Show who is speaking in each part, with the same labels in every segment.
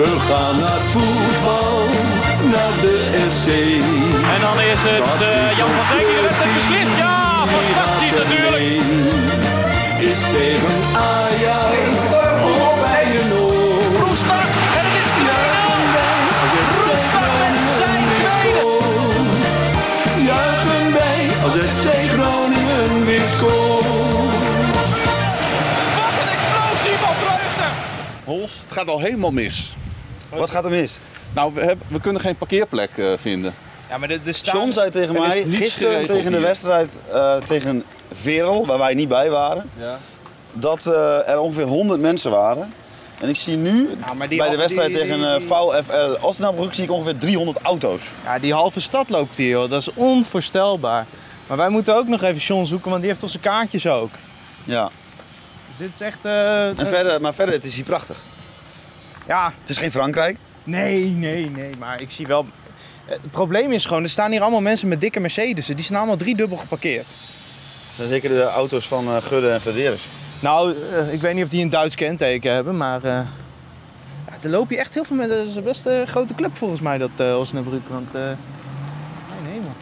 Speaker 1: We gaan naar voetbal, naar de FC.
Speaker 2: En dan is het eh, Jan van Dijk die de wedstrijd beslist. Ja, fantastisch natuurlijk.
Speaker 1: Is tegen Ajax op bij een oor.
Speaker 3: Roestak en het is 2-0. Roestak met zijn tweede.
Speaker 1: Juichen wij als FC Groningen weer scoort.
Speaker 3: Wat een explosie van vreugde.
Speaker 4: Hols, het gaat al helemaal mis.
Speaker 5: Wat gaat er mis?
Speaker 4: Nou, we, hebben, we kunnen geen parkeerplek eh, vinden.
Speaker 6: Ja, maar de, de staan...
Speaker 5: John zei tegen
Speaker 4: Er is
Speaker 5: mij,
Speaker 4: niets
Speaker 5: gisteren
Speaker 4: geregeld
Speaker 5: tegen de
Speaker 4: hier.
Speaker 5: wedstrijd eh, tegen Verel, waar wij niet bij waren,
Speaker 6: Ja.
Speaker 5: dat eh, er ongeveer 100 mensen waren. En ik zie nu,
Speaker 6: Ja, Ah, maar die
Speaker 5: bij de
Speaker 6: al-
Speaker 5: wedstrijd
Speaker 6: die-
Speaker 5: tegen
Speaker 6: die-
Speaker 5: eh, VfL Osnabrück, zie ik ongeveer 300 auto's.
Speaker 6: ja, die halve stad loopt hier, joh. dat is onvoorstelbaar. Maar wij moeten ook nog even John zoeken, want die heeft onze kaartjes ook.
Speaker 5: Ja.
Speaker 6: Dus dit is echt... eh,
Speaker 5: En
Speaker 6: eh,
Speaker 5: verder, maar verder, het is hier prachtig.
Speaker 6: ja,
Speaker 5: Het is geen Frankrijk.
Speaker 6: nee, nee, nee, maar ik zie wel... Eh, Het probleem is gewoon, er staan hier allemaal mensen met dikke Mercedes'en. Die zijn allemaal driedubbel geparkeerd.
Speaker 5: Het zijn zeker de auto's van eh, Gudde en Gudderis.
Speaker 6: Nou, eh, ik weet niet of die een Duits kenteken hebben, maar... eh, ja, er lopen hier echt heel veel mensen. Dat is een best eh, grote club volgens mij, dat eh Osnabrück. Want, eh mijn hemel.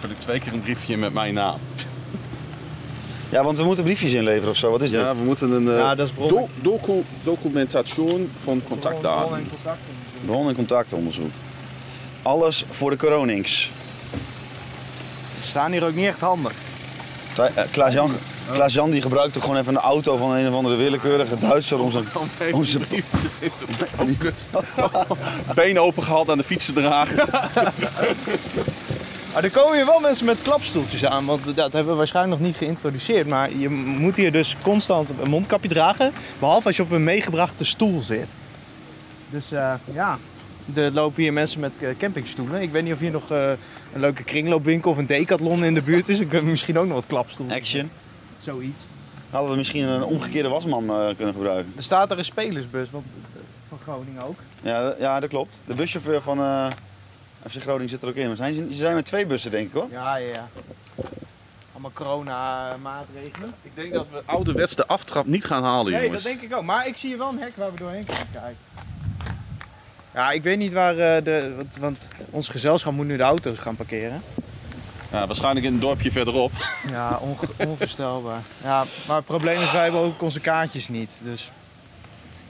Speaker 4: Heb ik twee keer een briefje met mijn naam.
Speaker 5: Ja, want we moeten briefjes inleveren of zo. Wat is
Speaker 4: Ja,
Speaker 5: dit?
Speaker 4: we moeten een eh,
Speaker 6: Ja, dat is bron-
Speaker 2: Oh,
Speaker 4: do- docu documentatie van contactdaten.
Speaker 5: Bron- en contactonderzoek. Alles voor de coronings.
Speaker 6: Ze staan hier ook niet echt handig.
Speaker 5: Twa- eh, Klaas-Jan Klaas-Jan, die gebruikt toch gewoon even een auto van een of andere willekeurige Duitser om zijn... om zijn-
Speaker 4: Been opengehaald aan de fietsendrager.
Speaker 6: Maar Ah, er komen hier wel mensen met klapstoeltjes aan, want dat hebben we waarschijnlijk nog niet geïntroduceerd. Maar je moet hier dus constant een mondkapje dragen, behalve als je op een meegebrachte stoel zit. Dus eh, ja, er lopen hier mensen met eh, campingstoelen. Ik weet niet of hier nog eh, een leuke kringloopwinkel of een decathlon in de buurt is. Dan kunnen we misschien ook nog wat klapstoelen.
Speaker 5: Action.
Speaker 6: Zoiets.
Speaker 5: Hadden we misschien een omgekeerde wasman eh, kunnen gebruiken.
Speaker 6: Er staat er een spelersbus want, eh, van Groningen ook.
Speaker 5: Ja, d- ja, dat klopt. De buschauffeur van eh FC Groningen zit er ook in. Maar zijn, ze ze zijn met twee bussen, denk ik hoor.
Speaker 6: Ja, ja, ja. Allemaal corona-maatregelen.
Speaker 4: Ik denk dat we ouderwets de aftrap niet gaan halen,
Speaker 6: Nee, dat
Speaker 4: jongens.
Speaker 6: denk ik ook. Maar ik zie hier wel een hek waar we doorheen kunnen kijken. Ja, ik weet niet waar eh, de... Want, want ons gezelschap moet nu de auto's gaan parkeren.
Speaker 4: Ja, waarschijnlijk in een dorpje verderop.
Speaker 6: Ja, onge- onvoorstelbaar. Ja, maar het probleem is, wij hebben ook onze kaartjes niet. Dus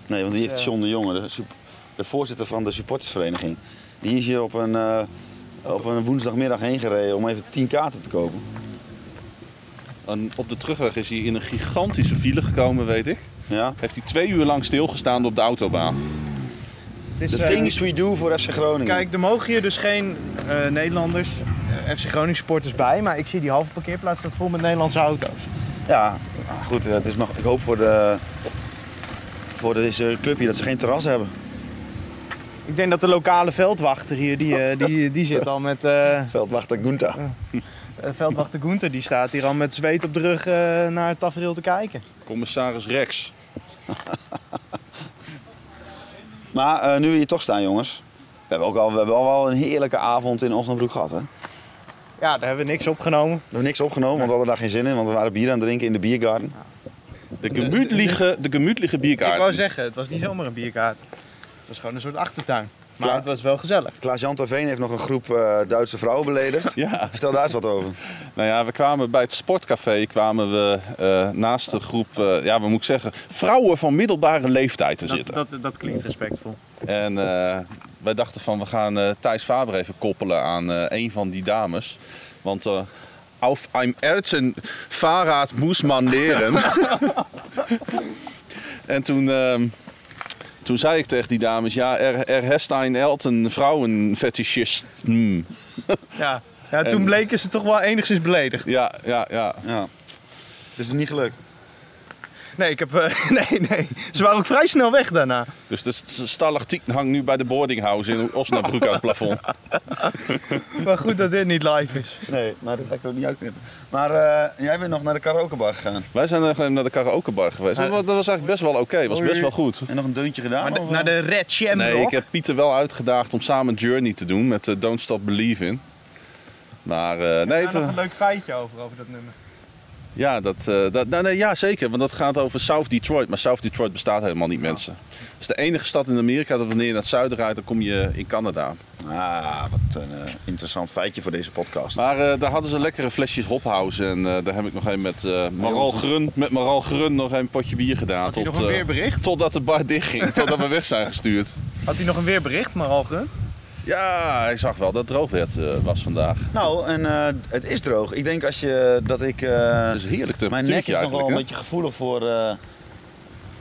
Speaker 5: Nee, want die heeft
Speaker 6: Ja.
Speaker 5: John de Jonge, de, sup- de voorzitter van de supportersvereniging. Die is hier op een, eh, op een woensdagmiddag heen gereden om even 10 kaarten te kopen.
Speaker 4: En op de terugweg is hij in een gigantische file gekomen, weet ik.
Speaker 5: Ja.
Speaker 4: Heeft hij twee uur lang stilgestaan op de autobaan.
Speaker 6: het is...
Speaker 5: The
Speaker 6: eh,
Speaker 5: things we do voor FC Groningen.
Speaker 6: Kijk, er mogen hier dus geen eh, Nederlanders, eh, FC Groningen supporters bij. Maar ik zie die halve parkeerplaats staat vol met Nederlandse auto's.
Speaker 5: Ja, nou, goed. eh, Het is nog, ik hoop voor, de, voor deze club hier dat ze geen terras hebben.
Speaker 6: Ik denk dat de lokale veldwachter hier, die, eh, die, die zit al met... eh,
Speaker 5: Veldwachter Gunta.
Speaker 6: eh, veldwachter Gunther, die staat hier al met zweet op de rug eh, naar het tafereel te kijken.
Speaker 4: Commissaris Rex.
Speaker 5: Maar eh, nu we hier toch staan, jongens. We hebben ook al, we hebben al wel een heerlijke avond in Osnabrück gehad, hè? We
Speaker 6: Ja, daar hebben we niks opgenomen.
Speaker 5: hebben niks opgenomen, want we hadden daar geen zin in. Want we waren bier aan het drinken in de biergarden.
Speaker 4: De gemütliche, de gemütliche bierkaart.
Speaker 6: Ik wou zeggen, het was niet zomaar een bierkaart. Het was gewoon een soort achtertuin. Maar
Speaker 5: Klaar.
Speaker 6: het was wel gezellig.
Speaker 5: Klaas-Jan Terveen heeft nog een groep eh, Duitse vrouwen beledigd.
Speaker 4: Ja.
Speaker 5: Vertel daar eens wat over.
Speaker 4: Nou ja, we kwamen bij het sportcafé kwamen we eh, naast de groep, eh, ja, wat moet ik zeggen, vrouwen van middelbare leeftijd te zitten.
Speaker 6: dat, dat klinkt respectvol.
Speaker 4: En eh, wij dachten van, we gaan eh, Thijs Faber even koppelen aan eh, een van die dames. Want eh auf einem Erzen Fahrrad muss man leren. en toen, ehm, toen zei ik tegen die dames, ja, er, er herst ein Elten vrouwenfetischist. Hmm.
Speaker 6: Ja. ja, toen bleken ze toch wel enigszins beledigd.
Speaker 4: Ja, ja, ja.
Speaker 5: Ja. Het is niet gelukt.
Speaker 6: Nee, ik heb, eh, nee, nee. Ze waren ook vrij snel weg daarna.
Speaker 4: Dus de stalactiet hangt nu bij de boardinghouse in Osnabrück aan het plafond.
Speaker 6: Maar goed dat dit niet live is.
Speaker 5: Nee, maar dat ga ik er ook niet uitknippen. Maar eh, jij bent nog naar de karaokebar gegaan.
Speaker 4: Wij zijn nog even naar de karaokebar geweest. Dat wa- dat was eigenlijk best wel oké, was best wel goed.
Speaker 5: En nog een deuntje gedaan?
Speaker 6: Maar de-
Speaker 5: of,
Speaker 6: naar de Red Jam
Speaker 4: Nee,
Speaker 6: Rock.
Speaker 4: ik heb Pieter wel uitgedaagd om samen Journey te doen met eh, Don't Stop Believing. Maar eh, nee,
Speaker 6: Daar
Speaker 4: het,
Speaker 6: nog een leuk feitje over, over dat nummer.
Speaker 2: Ja, dat, eh, dat, nou, nee, ja, zeker. Want dat gaat over South Detroit. Maar South Detroit bestaat helemaal niet, mensen. Het is de enige stad in Amerika dat wanneer je naar het zuiden rijdt, dan kom je in Canada.
Speaker 5: Ah, wat een eh, interessant feitje voor deze podcast.
Speaker 2: Maar eh, daar hadden ze lekkere flesjes Hophouse. En eh, daar heb ik nog een met eh Maral Grun, met Maral Grun nog een potje bier gedaan.
Speaker 6: hij nog een
Speaker 2: eh,
Speaker 6: weerbericht?
Speaker 2: Totdat de bar dichtging. totdat we weg zijn gestuurd.
Speaker 6: Had hij nog een weerbericht, maar al ge?
Speaker 2: Ja, hij zag wel dat het droog werd, eh, was vandaag.
Speaker 5: Nou, en eh, het is droog. Ik denk als je, dat ik... eh,
Speaker 2: Dat is heerlijk
Speaker 5: Mijn nek
Speaker 2: temperatuurtje
Speaker 5: is nog wel
Speaker 2: eigenlijk.
Speaker 5: een
Speaker 2: hè?
Speaker 5: beetje gevoelig voor eh,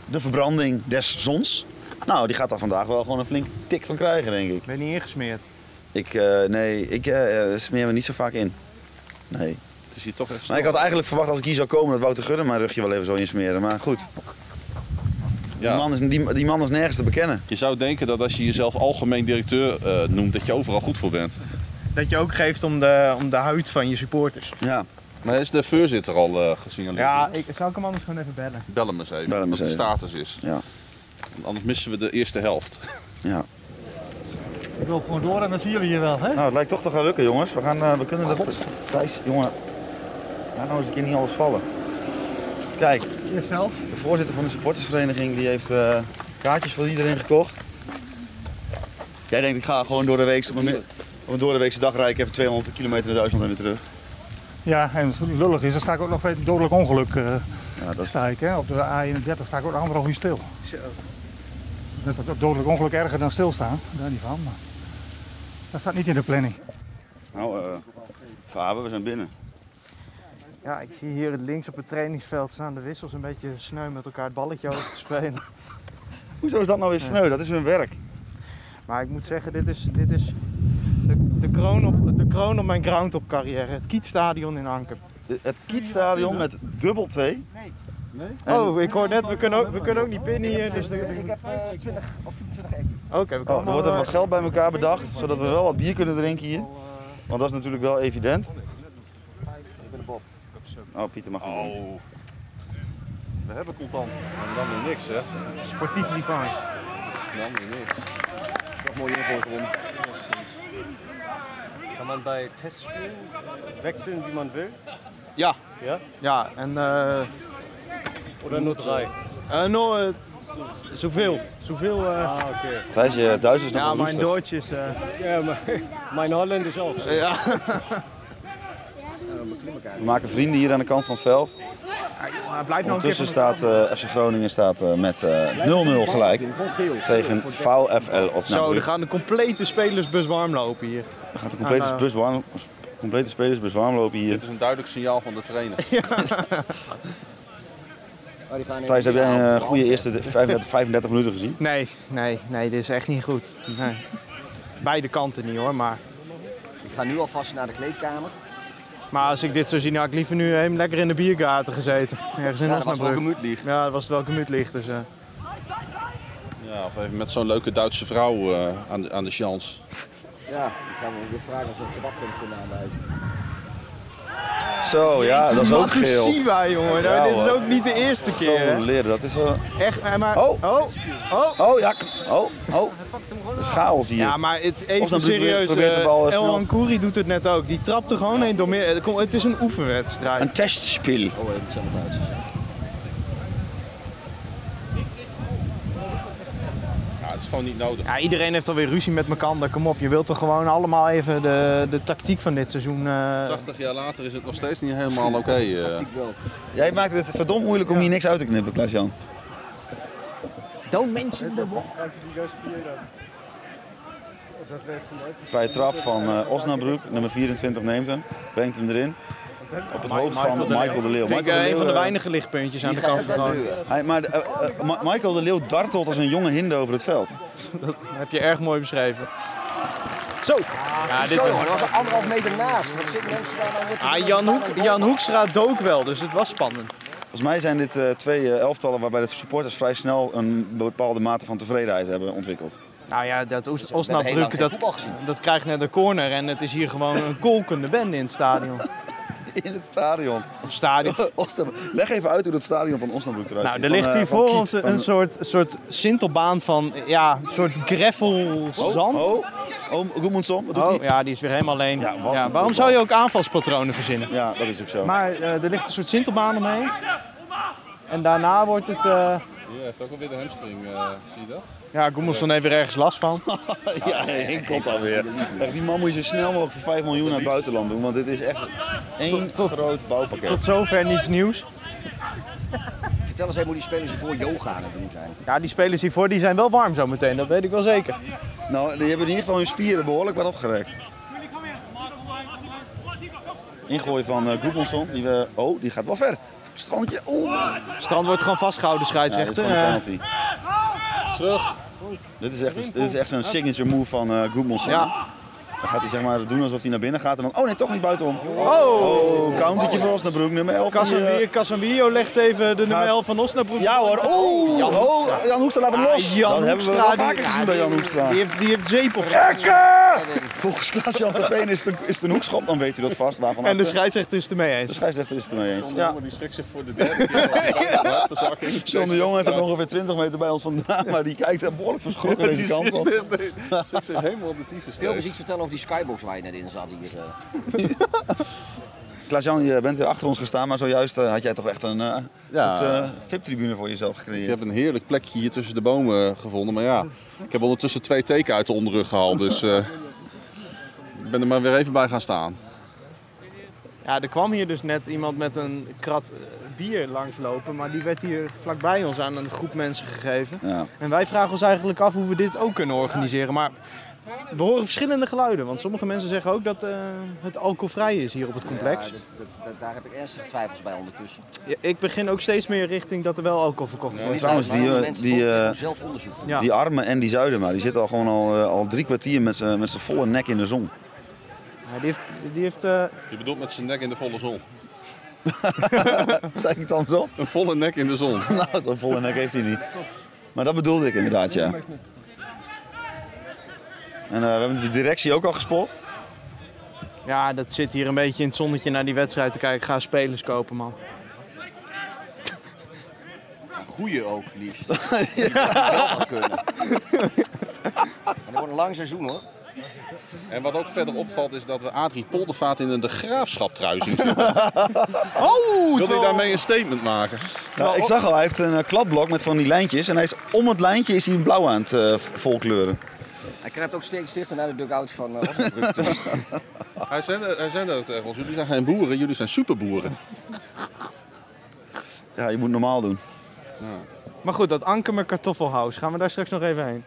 Speaker 5: de verbranding des zons. Nou, die gaat daar vandaag wel gewoon een flink tik van krijgen, denk ik.
Speaker 6: Ik ben niet ingesmeerd.
Speaker 5: Ik, eh, nee, ik eh, eh, smeer me niet zo vaak in. Nee.
Speaker 2: Het is hier toch echt
Speaker 5: Maar ik had eigenlijk verwacht als ik hier zou komen dat Wouter Gudde mijn rugje wel even zo insmeren. Maar goed, die,
Speaker 2: ja.
Speaker 5: man is, die, die man is nergens te bekennen.
Speaker 2: Je zou denken dat als je jezelf algemeen directeur eh, noemt, dat je overal goed voor bent.
Speaker 6: Dat je ook geeft om de, om de huid van je supporters.
Speaker 5: Ja,
Speaker 2: Maar is de voorzitter al eh gezien?
Speaker 6: Ja, ik, zou ik hem anders gewoon even bellen?
Speaker 2: Bel hem eens even,
Speaker 5: Bel hem
Speaker 2: wat
Speaker 5: eens
Speaker 2: de
Speaker 5: even.
Speaker 2: status is.
Speaker 5: ja,
Speaker 2: Want Anders missen we de eerste helft.
Speaker 5: ja.
Speaker 6: Ik wil gewoon door en dan zien jullie hier wel, hè?
Speaker 5: Nou, het lijkt toch te gaan lukken, jongens. We, gaan, eh, we kunnen dat... Thijs, jongen, laat nou eens een keer niet alles vallen. Kijk,
Speaker 6: Jezelf.
Speaker 5: De voorzitter van de supportersvereniging die heeft eh, kaartjes voor iedereen gekocht. Jij denkt, ik ga gewoon door de week, op een, mi- op een door de weekse dag rijden, ik even 200 kilometer naar Duitsland en weer terug.
Speaker 7: Ja, en als het lullig is, dan sta ik ook nog bij een dodelijk ongeluk. eh,
Speaker 5: Ja, dat is
Speaker 7: sta ik, hè. Op de A31 sta ik ook nog anderhalf uur stil. Dus dat dodelijk ongeluk erger dan stilstaan, daar niet van. Maar dat staat niet in de planning.
Speaker 5: Nou, eh Faber, we zijn binnen.
Speaker 6: Ja, ik zie hier links op het trainingsveld staan de wissels een beetje sneu met elkaar het balletje over te spelen.
Speaker 5: Hoezo is dat nou weer sneu? Dat is hun werk.
Speaker 6: Maar ik moet zeggen, dit is, dit is de, de, kroon op, de kroon op mijn ground-up carrière. Het Kietstadion in Anker.
Speaker 5: De- Het Kietstadion met dubbel T.
Speaker 6: Oh, ik hoor net, we kunnen ook, we kunnen ook niet pinnen hier. Dus ik heb 20 of 24 Oké, we
Speaker 5: Oh, er
Speaker 6: komen
Speaker 5: wordt even
Speaker 6: wel, eh,
Speaker 5: wat geld bij elkaar bedacht, zodat we wel wat bier kunnen drinken hier. Want dat is natuurlijk wel evident. Oh, Pieter mag niet. drinken.
Speaker 2: We hebben contant. En dan weer niks, hè?
Speaker 6: eh, sportief divine.
Speaker 2: Dan weer niks. Toch mooi ingooien erin.
Speaker 8: Kann man bei Testspielen wechseln, wie man will?
Speaker 6: Ja,
Speaker 8: Ja?
Speaker 6: ja, en eh
Speaker 8: Oder nur drei?
Speaker 6: eh, nou, eh, zoveel, zoveel. eh,
Speaker 8: Ah, okay.
Speaker 5: Thijs, je Duits is nog
Speaker 6: ja,
Speaker 5: wel
Speaker 6: mijn
Speaker 5: roestig.
Speaker 6: Duits is. eh,
Speaker 8: Ja, mein, mein Holländisch auch.
Speaker 5: We maken vrienden hier aan de kant van het veld.
Speaker 6: maar blijf nou een keer.
Speaker 5: Ondertussen
Speaker 6: van-
Speaker 5: staat eh, FC Groningen staat, eh, met eh, 0-0 gelijk tegen VFL
Speaker 6: Zo, er
Speaker 5: Osnabrück.
Speaker 6: gaan de complete spelersbus warm lopen hier.
Speaker 5: We gaan de
Speaker 6: Ah.
Speaker 5: complete, bus warm, complete spelersbus warm lopen hier.
Speaker 2: Dit is een duidelijk signaal van de trainer.
Speaker 5: Thijs, heb jij een eh, goede eerste de- 35, 35 minuten gezien?
Speaker 6: Nee, nee, nee, dit is echt niet goed. Nee. Beide kanten niet hoor, maar.
Speaker 3: Ik ga nu alvast naar de kleedkamer.
Speaker 6: Maar als ik dit zo zie, nou, ik liever nu helemaal lekker in de biergaten gezeten. Ergens in
Speaker 3: Ja, dat was wel
Speaker 6: Osnabrück.
Speaker 3: gemoedlieg.
Speaker 6: Ja, dat was wel gemoedlicht. Dus, eh.
Speaker 2: Ja, of even met zo'n leuke Duitse vrouw eh, aan, de- aan de chance.
Speaker 3: Ja, ik ga me weer vragen of ik een kebabtent kunnen aanwijzen.
Speaker 5: Zo, ja, dat is ook
Speaker 6: Wat een
Speaker 5: geel.
Speaker 6: Shiba, jongen. Nou,
Speaker 5: Ja,
Speaker 6: dit is
Speaker 5: hoor.
Speaker 6: ook niet de eerste keer.
Speaker 5: Zo,
Speaker 6: hè.
Speaker 5: leren, dat is wel...
Speaker 6: Echt, eh, maar...
Speaker 5: Oh.
Speaker 6: oh! oh.
Speaker 5: Oh, ja, oh, oh. Dat is chaos hier.
Speaker 6: Ja, maar het is
Speaker 5: Of
Speaker 6: even
Speaker 5: dan probeert-
Speaker 6: serieus.
Speaker 5: probeert de
Speaker 6: eh,
Speaker 5: bal, eh,
Speaker 6: El
Speaker 5: snel-
Speaker 6: Ankouri doet het net ook. Die trapte gewoon heen door meer. kom, Het is een oefenwedstrijd.
Speaker 5: Een testspiel.
Speaker 3: Oh, ik zal het Duitsers.
Speaker 2: Ja, het is gewoon niet nodig.
Speaker 6: Ja, iedereen heeft alweer ruzie met elkaar. Kom op, je wilt toch gewoon allemaal even de, de tactiek van dit seizoen... eh,
Speaker 2: 80 jaar later is het nog steeds niet helemaal oké. eh.
Speaker 5: Jij maakt het verdomd moeilijk om hier niks uit te knippen, Klaas-Jan.
Speaker 6: Don't mention the war.
Speaker 5: Vrije trap van eh, Osnabrück, nummer 24 neemt hem, brengt hem erin. Op het hoofd van Michael de Leeuw.
Speaker 6: Vind ik
Speaker 5: Michael
Speaker 6: eh, een van de
Speaker 5: Leeuw, eh,
Speaker 6: weinige lichtpuntjes aan de kant van Groningen.
Speaker 5: Hij, maar eh, eh, Ma- Michael de Leeuw dartelt als een jonge hinde over het veld.
Speaker 6: Dat heb je erg mooi beschreven. Zo! Ja, dit
Speaker 3: Zo,
Speaker 6: was...
Speaker 3: dat was er anderhalf meter naast. Wat zitten mensen daar nou net te
Speaker 6: Ah,
Speaker 3: doen?
Speaker 6: Jan, Hoek, Jan Hoekstra dook wel, dus het was spannend.
Speaker 5: Volgens mij zijn dit eh, twee eh, elftallen waarbij de supporters vrij snel een bepaalde mate van tevredenheid hebben ontwikkeld.
Speaker 6: Nou ja, dat Oes-
Speaker 3: heel lang
Speaker 6: Osnabrück,
Speaker 3: geen
Speaker 6: dat,
Speaker 3: voetbal gezien.
Speaker 6: dat krijgt net een corner en het is hier gewoon een kolkende bende in het stadion.
Speaker 5: in het stadion.
Speaker 6: Of stadion.
Speaker 5: Osnabroek. Leg even uit hoe dat stadion van Osnabrück eruit
Speaker 6: Nou,
Speaker 5: ziet.
Speaker 6: er
Speaker 5: Van,
Speaker 6: ligt
Speaker 5: eh,
Speaker 6: hier
Speaker 5: van
Speaker 6: voor
Speaker 5: Kiet,
Speaker 6: ons
Speaker 5: van-
Speaker 6: een soort, soort sintelbaan van, ja, een soort greffelzand.
Speaker 5: Oh, oh, oh Goemundsson, wat doet hij?
Speaker 6: Oh, ja, die is weer helemaal alleen.
Speaker 5: Ja,
Speaker 6: Ja,
Speaker 5: wat-
Speaker 6: waarom zou je ook aanvalspatronen verzinnen?
Speaker 5: Ja, dat is ook zo.
Speaker 6: Maar eh, er ligt een soort sintelbaan omheen. En daarna wordt het... eh,
Speaker 2: Die heeft ook alweer de hamstring, eh, zie je dat?
Speaker 6: ja, Goemelson heeft weer ergens last van.
Speaker 5: ja, Henk komt alweer. Echt, die man moet je zo snel mogelijk voor 5 miljoen naar het buitenland doen, want dit is echt één groot bouwpakket.
Speaker 6: Tot zover niets nieuws.
Speaker 3: Vertel eens even hoe die spelers die voor yoga aan het doen zijn.
Speaker 6: Ja, die spelers hiervoor die zijn wel warm zo meteen, dat weet ik wel zeker.
Speaker 5: Nou, die hebben in ieder geval hun spieren behoorlijk wat opgerekt. Ingooien van eh Goedmanson. Die, we- oh, die gaat wel ver. Strandje. Oeh. Ja,
Speaker 6: Strand wordt gewoon vastgehouden,
Speaker 5: dit is
Speaker 6: scheidsrechter.
Speaker 5: gewoon een
Speaker 6: Eh,
Speaker 5: penalty. Terug. Dit is echt, dit is echt een signature move van eh Goedmanson.
Speaker 6: Ja.
Speaker 5: Dan gaat hij zeg maar doen alsof hij naar binnen gaat en dan... Oh nee, toch niet buitenom. Oh, countertje voor ons naar Broek, nummer 11. die, eh,
Speaker 6: Casemiro- Casemiro legt even de nummer 11 van Osnabrück.
Speaker 5: Ja hoor, oeh!
Speaker 6: Jan
Speaker 5: oh, Jan Hoekstra laat hem los.
Speaker 6: Ah, Jan
Speaker 5: dat hebben we
Speaker 6: Hoekstra, die-
Speaker 5: wel vaker gezien
Speaker 6: ja,
Speaker 5: bij Jan Hoekstra.
Speaker 6: Die heeft, die heeft zeep op.
Speaker 5: Volgens Klaas-Jan de Veen is het, een, is het een hoekschop, dan weet u dat vast. Waarvan
Speaker 6: En de
Speaker 5: uit-
Speaker 6: scheidsrechter is het ermee eens.
Speaker 5: de scheidsrechter is het er mee eens.
Speaker 2: Ja.
Speaker 5: Ja.
Speaker 2: Die schrikt zich voor de derde keer. Ja. Verzakking.
Speaker 5: John de Jong heeft er ongeveer 20 meter bij ons vandaan, maar die kijkt er behoorlijk verschrokken deze kant op.
Speaker 2: Schrikt zich helemaal de tyfus
Speaker 3: Wil je eens
Speaker 2: steeds.
Speaker 3: iets vertellen over die skybox waar je net in zat hier? eh?
Speaker 5: Klaas-Jan, je bent weer achter ons gestaan, maar zojuist eh, had jij toch echt een eh
Speaker 2: Ja.
Speaker 5: goed, eh, VIP-tribune voor jezelf
Speaker 2: Ik
Speaker 5: gecreëerd.
Speaker 2: heb een heerlijk plekje hier tussen de bomen gevonden. Maar ja, ik heb ondertussen twee teken uit de onderrug gehaald. Dus eh, ik ben er maar weer even bij gaan staan.
Speaker 6: Ja, er kwam hier dus net iemand met een krat eh, bier langslopen. Maar die werd hier vlakbij ons aan een groep mensen gegeven.
Speaker 5: Ja.
Speaker 6: En wij vragen ons eigenlijk af hoe we dit ook kunnen organiseren. Maar we horen verschillende geluiden. Want sommige mensen zeggen ook dat eh, het alcoholvrij is hier op het complex.
Speaker 3: Ja, dat- dat- dat- daar heb ik ernstige twijfels bij ondertussen.
Speaker 6: Ja, ik begin ook steeds meer richting dat er wel alcohol verkocht wordt.
Speaker 5: trouwens, die,
Speaker 3: Waarom
Speaker 5: eh,
Speaker 3: mensen
Speaker 5: die,
Speaker 3: toch
Speaker 5: eh,
Speaker 3: doen zelf onderzoek doen.
Speaker 6: Ja.
Speaker 5: Die armen en die zuiden, maar die zitten al gewoon al, eh, al drie kwartier met z'n met z'n volle nek in de zon.
Speaker 6: Ja, die heeft, die heeft eh,
Speaker 2: Je bedoelt met zijn nek in de volle zon.
Speaker 5: Zeg ik dan zo?
Speaker 2: Een volle nek in de zon.
Speaker 5: Nou, zo'n volle nek heeft hij niet. Maar dat bedoelde ik inderdaad, ja. En eh, we hebben de directie ook al gespot.
Speaker 6: ja, dat zit hier een beetje in het zonnetje naar die wedstrijd te kijken. Ga spelers kopen, man.
Speaker 3: Goeie ook, liefst. ja. Dat kunnen. En dat wordt een lang seizoen hoor.
Speaker 2: En wat ook verder opvalt is dat we Adrie Poldervaart in een de graafschap trui zien zitten.
Speaker 6: Oh,
Speaker 2: Wil hij daarmee een statement maken?
Speaker 5: Nou, ik zag al, hij heeft een eh, kladblok met van die lijntjes. En hij is, om het lijntje is hij blauw aan het eh, v- volkleuren.
Speaker 3: Hij kruipt ook steeds dichter naar de dugout van eh Osnabrück.
Speaker 2: Hij zei, hij zei dat tegen ons. Jullie zijn geen boeren, jullie zijn superboeren.
Speaker 5: Ja, je moet normaal doen.
Speaker 6: Maar goed, dat Ankermer Kartoffelhuis. Gaan we daar straks nog even heen?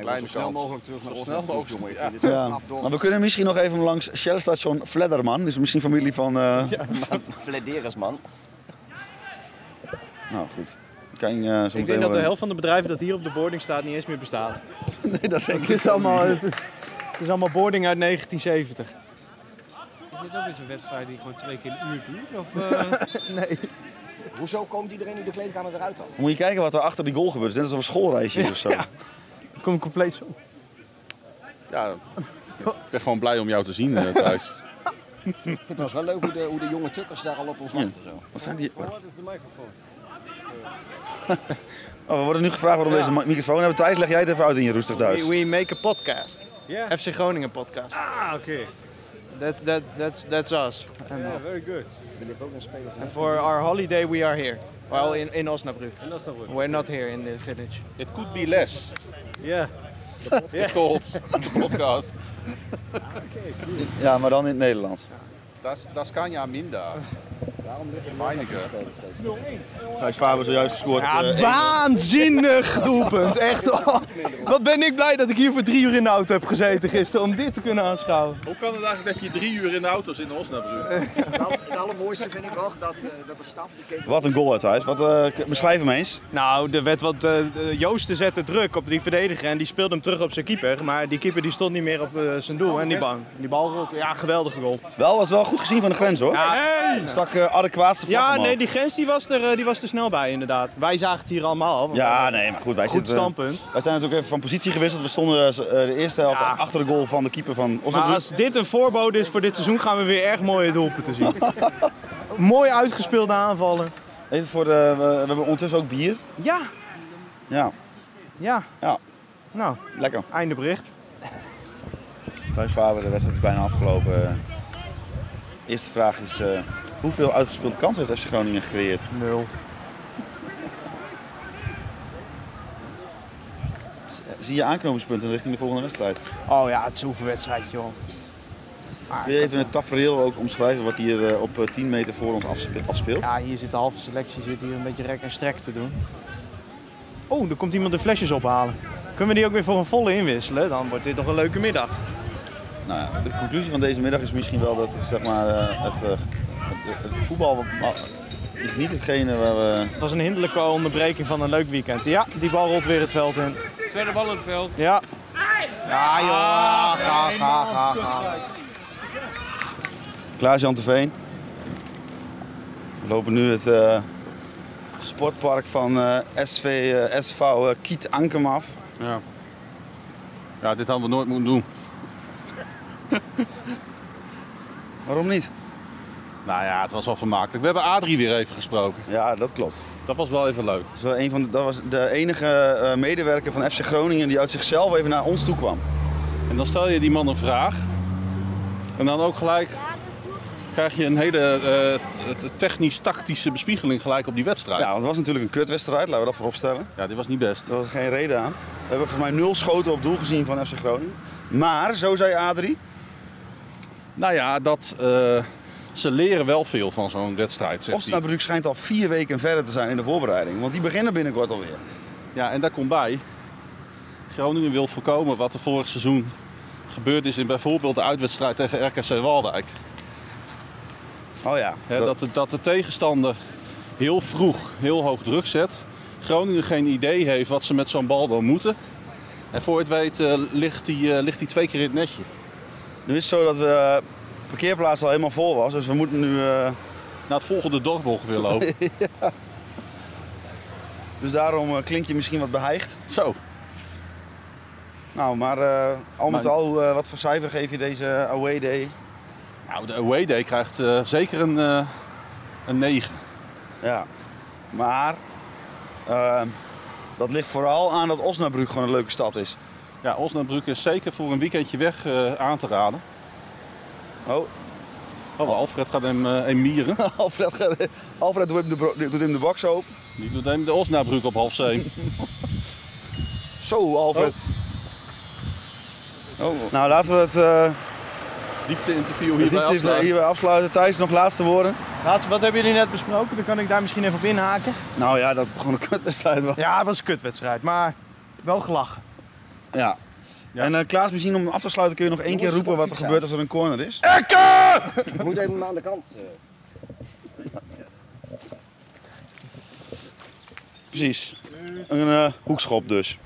Speaker 2: Kleine
Speaker 3: Zo snel
Speaker 2: kans.
Speaker 3: mogelijk terug naar
Speaker 2: Zo snel
Speaker 3: Osnabrück,
Speaker 2: mogelijk.
Speaker 3: jongen. Ik vind dit zo'n afdorp.
Speaker 5: Maar we kunnen misschien nog even langs Shellstation Vledderman. Dat is misschien familie van... eh,
Speaker 3: Flederis, man.
Speaker 5: Nou, goed. Kijk, eh zo
Speaker 6: Ik denk dat de helft van de bedrijven dat hier op de boarding staat niet eens meer bestaat.
Speaker 5: Nee, dat denk
Speaker 6: Het
Speaker 5: ik
Speaker 6: is allemaal, het is, het is allemaal boarding uit 1970.
Speaker 9: Is dit ook eens een wedstrijd die gewoon twee keer een uur duurt? Of, eh?
Speaker 3: Hoezo komt iedereen nu de kleedkamer eruit dan?
Speaker 5: Moet je kijken wat er achter die goal gebeurt. Het is net alsof een schoolreisje is of zo.
Speaker 6: Ik kom compleet zo.
Speaker 2: Ja, ik ben gewoon blij om jou te zien eh, Thijs.
Speaker 3: Ik vind het wel leuk hoe de, hoe de jonge tukkers daar al op ons wachten. Zo.
Speaker 5: Wat zijn die...
Speaker 9: wat is de microfoon?
Speaker 5: Oh, we worden nu gevraagd waarom we deze ma- microfoon hebben. Thijs, leg jij het even uit in je roestig Duits.
Speaker 6: We, we make a podcast.
Speaker 9: Ja?
Speaker 6: FC Groningen podcast.
Speaker 9: Ah, oké.
Speaker 6: That's, that, that's, that's us.
Speaker 9: Ja, very good.
Speaker 6: And for our holiday we are here. Well, in, in Osnabrück.
Speaker 9: En dat is nog goed.
Speaker 6: We're not here in the village.
Speaker 2: It could be less.
Speaker 9: Ja.
Speaker 2: It's called podcast.
Speaker 5: Ja, maar dan in het Nederlands.
Speaker 2: Das, das kan ja minder. Meinige.
Speaker 5: Thijs Faber zojuist gescoord. eh,
Speaker 6: Ja, Ah, waanzinnig doelpunt. Echt. oh, wat ben ik blij dat ik hier voor drie uur in de auto heb gezeten gisteren om dit te kunnen aanschouwen.
Speaker 2: Hoe kan het eigenlijk dat je drie uur in de auto zit in Osnabrück?
Speaker 3: Het aller- Het allermooiste vind ik ook dat, eh, dat de staf die keek
Speaker 5: Wat een goal uit Thijs. Wat, eh, k- beschrijf hem eens.
Speaker 6: Nou, er werd wat. eh, eh, Joosten zette druk op die verdediger en die speelde hem terug op zijn keeper. Maar die keeper die stond niet meer op eh, zijn doel en die bal. Die bal rolt. Ja, geweldige goal.
Speaker 5: Wel, was wel goed gezien van de grens hoor.
Speaker 6: Ja,
Speaker 5: Stak eh, adequaatste vlag
Speaker 6: Ja,
Speaker 5: omhoog.
Speaker 6: nee, die grens die was, er, eh, die was er snel bij inderdaad. Wij zagen het hier allemaal al. want
Speaker 5: Ja, nee, maar goed, wij
Speaker 6: Goed
Speaker 5: zitten...
Speaker 6: standpunt.
Speaker 5: Wij zijn natuurlijk even van positie gewisseld. We stonden eh, de eerste helft
Speaker 6: Ja.
Speaker 5: achter de goal van de keeper van... Of
Speaker 6: Maar als dit een voorbode is voor dit seizoen, gaan we weer erg mooie doelpunten zien. Mooi uitgespeelde aanvallen.
Speaker 5: Even voor de... We, we hebben ondertussen ook bier.
Speaker 6: Ja,
Speaker 5: Ja,
Speaker 6: ja.
Speaker 5: Ja.
Speaker 6: Nou,
Speaker 5: lekker.
Speaker 6: einde bericht.
Speaker 5: Thijs Faber, de wedstrijd is bijna afgelopen. Eerste vraag is... eh, hoeveel uitgespeelde kansen heeft FC Groningen gecreëerd?
Speaker 6: Nul.
Speaker 5: Zie je aanknopingspunten richting de volgende wedstrijd?
Speaker 6: Oh ja, het is een oefenwedstrijd, joh. Maar
Speaker 5: Kun je even het tafereel ook omschrijven wat hier eh, op eh, 10 meter voor ons afspe- afspeelt?
Speaker 6: Ja, hier zit de halve selectie zit hier een beetje rek en strek te doen. Oh, er komt iemand de flesjes ophalen. Kunnen we die ook weer voor een volle inwisselen? Dan wordt dit nog een leuke middag.
Speaker 5: Nou ja, de conclusie van deze middag is misschien wel dat het, zeg maar, eh, het, eh, het- het voetbal wat- wat- is niet hetgene waar we...
Speaker 6: Het was een hinderlijke onderbreking van een leuk weekend. Ja, die bal rolt weer het veld in.
Speaker 9: Tweede bal in het veld.
Speaker 6: Ja. Ja, joh. Ga, ga, ga, ga.
Speaker 5: Klaas-Jan Veen. We lopen nu het eh, sportpark van eh, SV, eh, SV eh, Kiet Ankem af.
Speaker 2: Ja. ja, dit hadden we nooit moeten doen.
Speaker 5: Waarom niet?
Speaker 2: Nou ja, het was wel vermakelijk. We hebben Adrie weer even gesproken.
Speaker 5: Ja, dat klopt.
Speaker 2: Dat was wel even leuk.
Speaker 5: Dat, is wel een van de, dat was de enige eh, medewerker van FC Groningen die uit zichzelf even naar ons toe kwam.
Speaker 2: En dan stel je die man een vraag. En dan ook gelijk krijg je een hele eh, technisch-tactische bespiegeling gelijk op die wedstrijd.
Speaker 5: Ja, want het was natuurlijk een kutwedstrijd, laten we dat voorop stellen.
Speaker 2: Ja, dit was niet best.
Speaker 5: Er was geen reden aan. We hebben voor mij nul schoten op doel gezien van FC Groningen. Maar, zo zei Adrie,
Speaker 2: Nou ja, dat, eh, ze leren wel veel van zo'n wedstrijd, zegt hij.
Speaker 5: Osnabrück schijnt al vier weken verder te zijn in de voorbereiding. Want die beginnen binnenkort alweer.
Speaker 2: Ja, en daar komt bij. Groningen wil voorkomen wat er vorig seizoen gebeurd is in bijvoorbeeld de uitwedstrijd tegen RKC Waalwijk.
Speaker 5: Oh ja.
Speaker 2: Hè, dat, de, dat de tegenstander heel vroeg heel hoog druk zet. Groningen geen idee heeft wat ze met zo'n bal dan moeten. En voor je het weet eh, ligt die, eh, ligt die twee keer in het netje.
Speaker 5: Nu is het zo dat we de parkeerplaats al helemaal vol was. Dus we moeten nu... eh,
Speaker 2: Naar het volgende dorpel weer lopen.
Speaker 5: dus daarom eh, klink je misschien wat behijgd.
Speaker 2: Zo,
Speaker 5: Nou, maar eh, al met
Speaker 2: Maar-
Speaker 5: al, eh, wat voor cijfer geef je deze away day?
Speaker 2: nou, de away day krijgt eh, zeker een, eh een 9.
Speaker 5: Ja. Maar... eh, dat ligt vooral aan dat Osnabrück gewoon een leuke stad is.
Speaker 2: Ja, Osnabrück is zeker voor een weekendje weg eh, aan te raden.
Speaker 5: Oh,
Speaker 2: Oh, Alfred gaat hem eh, hem mieren.
Speaker 5: Alfred, gaat- Alfred doet hem de, bro- doet hem de box open.
Speaker 2: Die doet hem de Osnabrück op half zeven.
Speaker 5: Zo, Alfred. Nou, laten we het eh,
Speaker 2: Diepte-interview
Speaker 5: het
Speaker 2: hierbij
Speaker 5: diepte
Speaker 2: afsluiten.
Speaker 5: hierbij afsluiten. Thijs, nog laatste woorden?
Speaker 6: Laatste, wat hebben jullie net besproken? Dan kan ik daar misschien even op inhaken.
Speaker 5: Nou ja, dat het gewoon een kutwedstrijd was.
Speaker 6: Ja, het was een kutwedstrijd, maar wel gelachen.
Speaker 5: Ja. En eh, Klaas, misschien om af te sluiten kun je nog één keer roepen wat er gebeurt als er een corner is.
Speaker 3: Ik moet even aan de kant. eh.
Speaker 5: Precies. Een eh, hoekschop dus.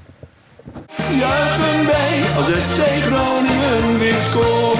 Speaker 4: Juichen wij als FC Groningen weer scoort.